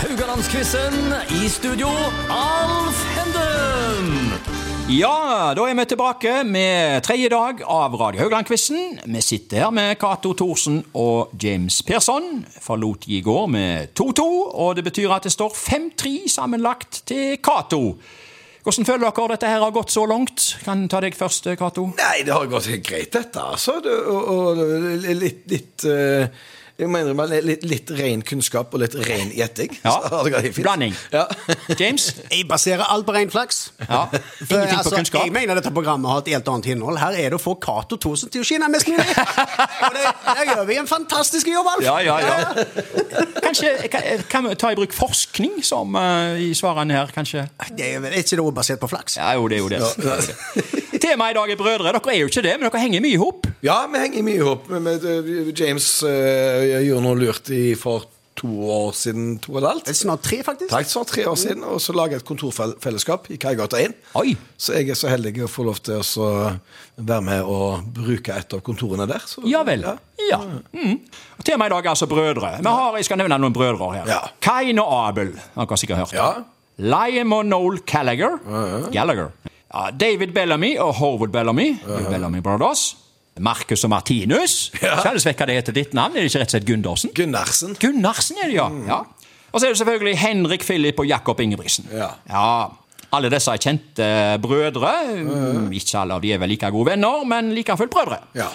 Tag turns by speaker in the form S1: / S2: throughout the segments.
S1: Haugalandsquizen. I studio, Alf Henden.
S2: Ja, da er vi tilbake med tredje dag av Radio Haugland-quizen. Vi sitter her med Cato Thorsen og James Persson. Forlot i går med 2-2, og det betyr at det står 5-3 sammenlagt til Cato. Hvordan føler dere dette her har gått så langt? Kan ta deg først, Cato.
S3: Nei, det har gått helt greit, dette, altså. Det, og, og det- litt, litt eh, Jeg må innrømme litt, litt ren kunnskap og litt ren gjetting.
S2: Ja.
S3: Så har det gått helt fint.
S2: Blanding.
S3: Ja.
S2: James?
S4: Jeg baserer alt på ren flaks.
S2: Ja.
S4: For,
S2: Ingenting på
S4: altså,
S2: kunnskap?
S4: Jeg mener dette programmet har et helt annet innhold. Her er det å få Cato Thorsen til å skinne mest mulig. Og det, der gjør vi en fantastisk jobb, Alf.
S2: Ja, ja, ja. Kanskje kan- kan vi ta i bruk forskning som eh, i svarene her, kanskje?
S4: Det er vel ikke noe basert på flaks.
S2: Ja, jo, det er jo det. Det er jo det. Temaet i dag er brødre. Dere er jo ikke det, men dere henger mye i hop.
S3: ja, vi henger mye i hop. Men- men, eh, James eh, jeg gjorde noe lurt i for to år siden, to og et
S4: Det
S3: halvt.
S4: er snart tre, faktisk.
S3: Takk for tre år siden, og så laget jeg et kontorfellesskap i Kaigata 1.
S2: Oi.
S3: Så jeg er så heldig å få lov til å så være med og bruke et av kontorene der. Så,
S2: Ja vel. Ja. Mm. Og Temaet i dag er altså brødre. Vi har, jeg skal nevne noen brødre her.
S3: Ja.
S2: Kain og Abel. Dere har sikkert hørt det.
S3: Ja.
S2: Liam og Noel Gallagher. Gallagher. Ja, David Bellamy og Howard Bellamy. Bellamy Brothers. Marcus og Martinus.
S3: Ja.
S2: Kjennes vekk hva det heter ditt navn. Er det ikke rett og slett Gundersen?
S3: Gunnarsen.
S2: Gunnarsen er det, ja.
S3: Mm.
S2: ja. Og så er det selvfølgelig Henrik Philip og Jakob Ingebrigtsen.
S3: Ja.
S2: Alle disse er kjente eh, brødre. Ikke alle av de er vel like gode venner, men like fullt brødre.
S3: Ja.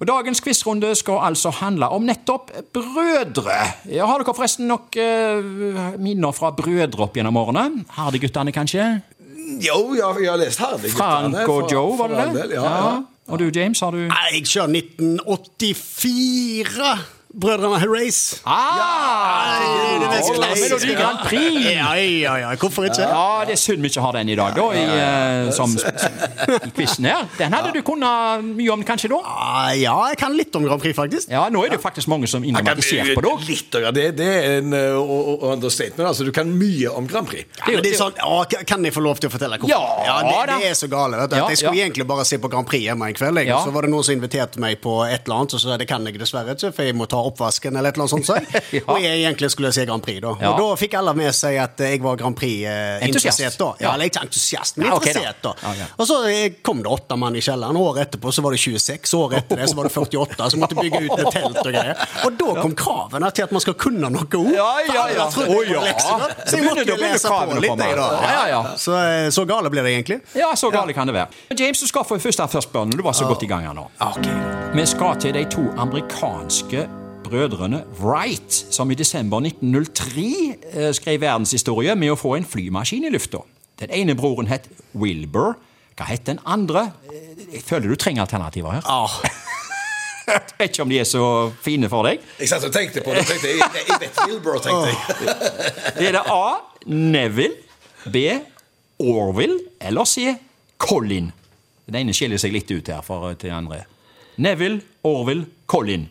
S2: Og Dagens quizrunde skal altså handle om nettopp brødre. Ja, har dere forresten nok eh, minner fra brødre opp gjennom årene? Hardeguttene, kanskje?
S3: Jo, jeg, jeg har lest Herdeguttene.
S2: Frank
S3: for-
S2: og Joe, var
S3: for
S2: det
S3: all
S2: det?
S3: del, Ja, ja.
S2: Og du, James, har du
S4: Nei, jeg kjører 1984, Brødrene Herace.
S2: Ah!
S4: det er det mest
S2: Å,
S4: klassiske.
S2: Melodi Grand Prix!
S4: Ja, ja, ja, hvorfor ikke?
S2: Ja, det er synd vi ikke har den i dag, da, i, eh, som, i quizen her. Den hadde du kunnet eh, mye om, kanskje, da?
S4: Ah, ja, jeg kan litt om Grand Prix, faktisk.
S2: Ja, nå er det jo faktisk mange som innrømmer at de ser på det òg.
S3: Litt, ja, det, det er en uh, o- o- understatement. Altså, du kan mye om Grand Prix.
S2: er jo-
S4: Men det er sånn, ah, Kan jeg få lov til å fortelle hvorfor?
S2: Ja,
S4: det,
S2: da.
S4: det er så gale. Vet du,
S2: Ja,
S4: at jeg skulle
S2: ja.
S4: egentlig bare se på Grand Prix hjemme en kveld. Jeg.
S2: Ja.
S4: Så var det noen som inviterte meg på et eller annet, og så sa jeg det kan jeg dessverre ikke, for jeg må ta oppvasken eller et eller annet sånt. sa jeg.
S2: Ja.
S4: Og jeg egentlig skulle se Grand Prix, da.
S2: Ja.
S4: Og da fikk alle med seg at eh, jeg var Grand Prix-interessert,
S2: Entusiast.
S4: da.
S2: Ja.
S4: Ja, eller ikke entusiast, men
S2: Ja, ok da.
S4: interessert, da.
S2: Ja, ja.
S4: Og så eh, kom det åtte mann i kjelleren. Året etterpå så var det 26, året etter det så var det 48, så måtte jeg bygge ut med telt og greier. Og da kom kravene til at man skal kunne noe ord.
S2: Ja, ja, ja.
S4: Alle trodde
S2: Å,
S4: jeg var
S2: ja.
S4: lekser, da.
S2: Da
S4: Så jeg
S2: begynner-
S4: måtte
S2: da
S4: jo
S2: begynner
S4: lese
S2: kravene
S4: på
S2: på
S4: litt,
S2: meg.
S4: jeg, da.
S2: Ja, ja, ja.
S4: Så, eh, så gale ble det egentlig.
S2: Ja, så gale kan det være. Men James, du skal få først her først, Bjørn. Du var så godt i gang her nå. Vi skal til de to amerikanske brødrene Wright, som i desember 1903 eh, skrev verdenshistorie med å få en flymaskin i lufta. Den ene broren het Wilbur. Hva het den andre? Eh, Jeg føler du trenger alternativer her.
S4: Ah,
S2: Jeg vet ikke om de er så fine for deg.
S3: Jeg satt og tenkte på det. Tenkte, jeg, jeg, jeg vet Wilbur, tenkte jeg.
S2: Det er det A. Neville. B. Orville. Eller C. Colin. Den ene skiller seg litt ut her for, eh, til den andre. Neville, Orville, Colin.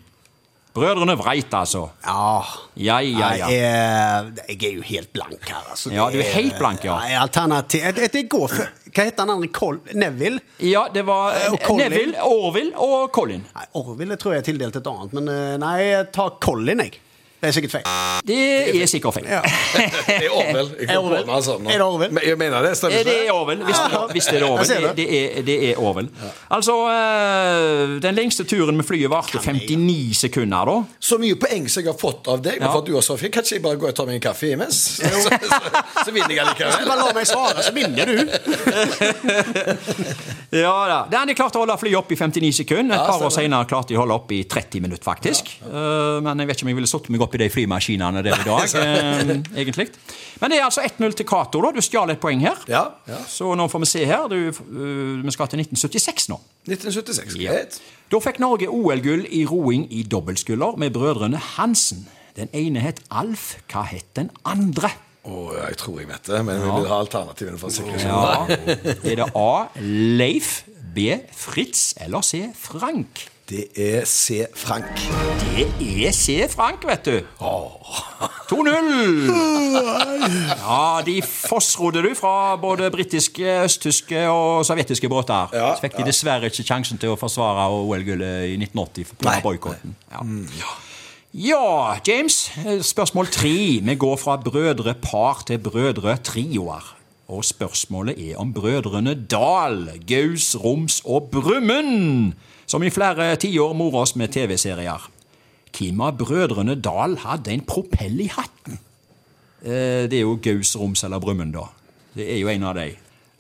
S2: Brødrene Wright, altså.
S4: ja.
S2: Ja, ja, ja.
S4: Jeg, er, jeg er jo helt blank her, altså.
S2: Ja,
S4: Det
S2: du er helt blank, ja.
S4: Nei, Alternativ jeg, jeg går for, Hva heter han andre? Col Neville?
S2: Ja, det var
S4: Eh, og Colin.
S2: Neville, Orville og Colin.
S4: Nei, Orville tror jeg er tildelt et annet, men eh, nei, ta Colin, jeg. Det er sikkert feil.
S2: Det er sikkert feil.
S4: Ja.
S3: Det er Orwell. Jeg kom på
S4: Orwell.
S3: den, altså, nå.
S4: Er det Orwell?
S3: Men Jeg mener det, stemmer
S2: Eh, Det er
S3: ikke det?
S2: Orwell. Hvis det, hvis det er
S4: Jeg ser
S2: Orwell. Det,
S4: det.
S2: det, er, det er Orwell. Altså, eh, den lengste turen med flyet varte 59 sekunder, da.
S3: Så mye poeng som jeg har fått av deg, men
S2: Ja.
S3: for at du har så fint, kanskje jeg bare går og tar meg en kaffe imens? Så, så, så, så vinner jeg
S4: Bare
S3: likevel.
S4: la meg svare, så vinner du.
S2: Ja da. Det hadde klart å holde flyet opp i 59 sekunder. Et
S3: Ja,
S2: par år
S3: stemmer.
S2: senere klarte de å holde opp i 30 minutter, faktisk. Eh, men jeg vet ikke om jeg ville satt meg opp i de flymaskinene der i dag, eh, egentlig. Men det er altså 1-0 til Cato, da. Du stjal et poeng her.
S3: Ja, ja.
S2: Så nå får vi se her. Du, eh, vi skal til 1976 nå.
S3: 1976.
S2: Ja.
S3: Greit.
S2: Da fikk Norge OL-gull i roing i dobbeltskuller med brødrene Hansen. Den ene het Alf, hva het den andre?
S3: Å, jeg tror jeg vet det, men jeg vil ha alternativene for sikkerhets skyld.
S2: Ja, Er det A. Leif, B. Fritz eller C. Frank?
S3: Det er C. Frank.
S2: Det er C. Frank, vet du. 2-0! Ja, de fossrodde du fra både britiske, østtyske og sovjetiske båter.
S3: Ja,
S2: Så fikk de dessverre ikke sjansen til å forsvare OL-gullet i 1980 pga.
S3: Nei.
S2: boikotten. Ja. Ja, James. eh, Spørsmål tre. Vi går fra brødrepar til brødretrioer. Og spørsmålet er om brødrene Dal, Gaus, Roms og Brumund, som i flere tiår morer oss med TV-serier. Hvem av brødrene Dal hadde en propell i hatten? Eh, Det er jo Gaus, Roms eller Brumund, da. Det er jo en av de.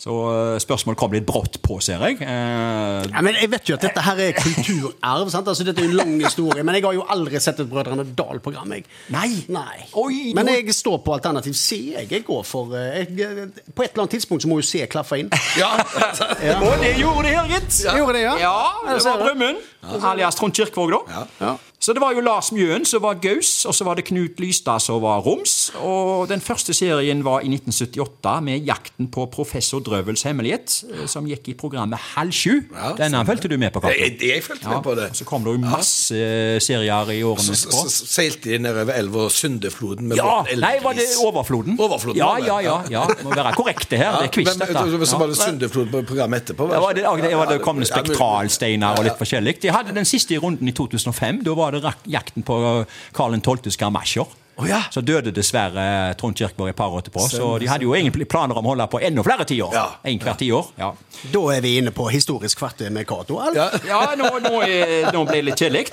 S2: Så eh, spørsmålet kom litt brått på, ser jeg. Eh,
S4: Ja, men jeg vet jo at dette her er kulturarv. sant? Altså, dette er jo en lang historie, men jeg har jo aldri sett et Brødrene Dal-program. jeg.
S2: Nei.
S4: Nei.
S2: Oi,
S4: men
S2: du-
S4: jeg står på alternativ C. Jeg, jeg går for eh, jeg, På et eller annet tidspunkt så må jo C klaffe inn.
S3: Ja.
S2: Og det gjorde det her, gitt.
S4: Ja. Gjorde det, ja.
S2: Ja, Det
S4: ser
S2: var
S4: det.
S2: Brumund, alias Trond Kirkvaag, da.
S4: Ja.
S2: Så det var jo Lars Mjøen som var Gaus, og så var det Knut Lystad som var Roms. Og den første serien var i 1978 med 'Jakten på professor Drøvels hemmelighet', eh, som gikk i programmet Halv sju.
S3: Ja,
S2: Denne fulgte du med på, Karsten.
S3: Jeg, jeg fulgte med på det.
S2: Og så kom det jo masse eh, serier i årene
S3: Så, så,
S2: etterpå.
S3: så seilte de nedover elva Syndefloden med
S2: Ja,
S3: båten Elvis.
S2: nei, var det Overfloden?
S3: Overfloden
S2: ja,
S3: var det.
S2: ja, ja, ja. Må være korrekte her. Det er quiz,
S3: men-
S2: dette.
S3: Så var det
S2: Ja.
S3: Syndefloden på programmet etterpå?
S2: Ja, var det, ja, det, var det kom det
S3: Ja, men-
S2: spektralsteiner og litt forskjellig. De hadde den siste runden i 2005. Da var det rak- jakten på eh, Karl 12.s garmasjer.
S3: Å ja.
S2: Så døde dessverre eh, Trond Kirkvaag et par år etterpå. Så de hadde jo egentlig planer om å holde på enda flere tiår.
S3: Ja.
S2: En hvert tiår. Ja.
S4: Da er vi inne på historisk kvarter med Cato. eller?
S3: Ja.
S2: Ja, nå, nå, er- nå blir det litt kjedelig,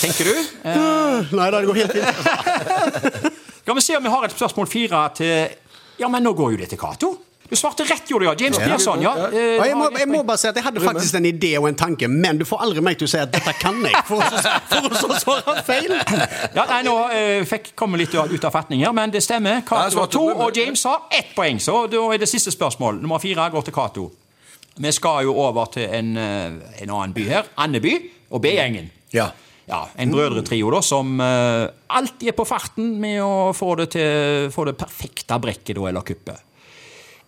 S2: tenker du. Eh,
S4: Nei, da, det går helt fint.
S2: Skal vi se om vi har et spørsmål fire til Ja, men nå går jo det til Cato. Du svarte rett, gjorde du, ja. James Persson, ja. Eh,
S4: Og jeg, må,
S2: har-
S4: jeg må bare si at jeg hadde faktisk en idé og en tanke, men du får aldri meg til å si at 'dette kan jeg', for så, for så svarer han feil.
S2: Ja, nei, nå eh, fikk komme litt ut av fatning her, men det stemmer.
S3: Nei,
S2: Cato
S3: så-
S2: har to, og James har ett poeng. Så da er det siste spørsmål. Nummer fire går til Cato. Vi skal jo over til en, eh, en annen by her. Andeby og B-gjengen.
S3: Ja.
S2: Ja, En brødretrio da, som eh, alltid er på farten med å få det, til, få det perfekte brekket da, eller kuppet.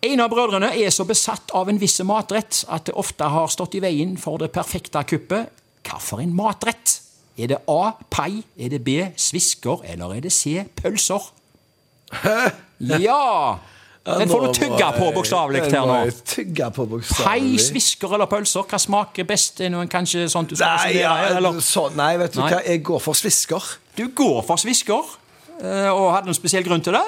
S2: En av brødrene er så besatt av en viss matrett at det ofte har stått i veien for det perfekte kuppet. Hvilken matrett? Er det A pai, er det B svisker, eller er det C pølser? Ja! Den får du tygge på, bokstavelig her nå.
S3: Tygge på,
S2: Pai,
S3: bokstavelig.
S2: svisker eller pølser, hva smaker best? Er noen kanskje sånt du skal
S3: Nei,
S2: resonnere her,
S3: ja,
S2: Altså, eller?
S3: så, nei, vet du
S2: Nei.
S3: hva, jeg går for svisker.
S2: Du går for svisker, eh, og hadde noen spesiell grunn til det?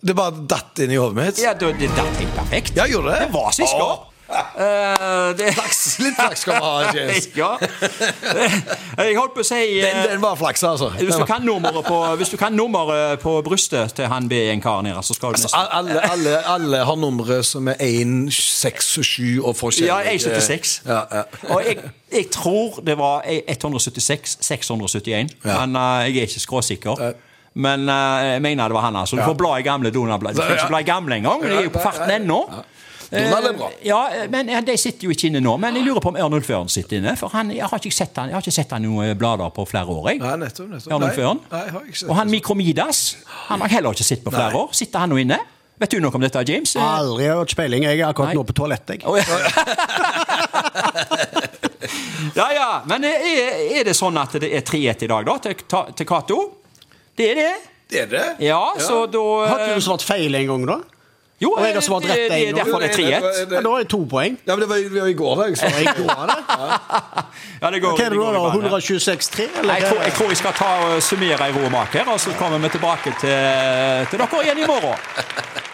S3: Det bare datt inn i hodet mitt.
S2: Ja, det, det, datt helt perfekt.
S3: Ja, gjorde det?
S2: Det var svisker.
S3: Å.
S2: Eh, det...
S3: Litt flaks skal vi ha, James.
S2: ja. Jeg holdt på å si eh,
S3: Den, den var flaks, altså.
S2: hvis
S3: Den
S2: du,
S3: var-
S2: kan nummeret på, hvis du kan nummeret på brystet til han B1-karen her, så skal du nesten
S3: Al- Alle, Altså, alle, alle har numre som er 1, 6 og 7 og forskjellige.
S2: Ja, 176.
S3: Ja, ja.
S2: Og jeg, jeg tror det var 176, 671.
S3: Ja.
S2: Men eh, jeg er ikke skråsikker. Men eh, jeg mener det var han, altså. Du får bla i gamle Donald-blad. Du
S3: Ja.
S2: skal ikke bla i gamle engang. Jeg er jo på farten ennå.
S3: Donald er bra.
S2: Eh, Ja, men eh, De sitter jo ikke inne nå, men jeg lurer på om Ørnulf Øren sitter inne. For han, jeg, har ikke sett han, jeg har ikke sett han i noen blader på flere år. jeg.
S3: Nei, nettopp, nettopp.
S2: Ørnulf
S3: Nei,
S2: Øren.
S3: nei, jeg har ikke sett
S2: Og han
S3: det.
S2: Mikromidas han har jeg heller ikke sett på flere
S3: Nei.
S2: år. Sitter han nå inne? Vet du noe om dette, James?
S4: Aldri hørt speiling. Jeg er akkurat
S2: Nei.
S4: nå på toalettet. jeg.
S2: Å, ja. ja ja, men eh, er, er det sånn at det er 3-1 i dag, da, til, ta- til Cato? Det er det.
S3: Er det?
S2: Ja, så da eh,
S4: Har ikke du svart feil en gang, da?
S2: Jo,
S4: Og jeg har svart
S2: det-
S4: rett
S2: det
S4: en
S2: er
S4: gang.
S2: derfor det er 3-1.
S4: Ja, da har jeg to poeng.
S3: Ja, men det var, det var i går, da. Jeg sa.
S4: Jeg går, da.
S2: Ja, det går,
S4: Hva er det
S2: går i
S4: du har
S2: banen.
S4: da?
S2: Nei,
S4: 126,3?
S2: jeg, tror,
S4: eller?
S2: jeg tror jeg skal ta og summere i ro og mak her, og så kommer vi tilbake til, til dere igjen i morgen.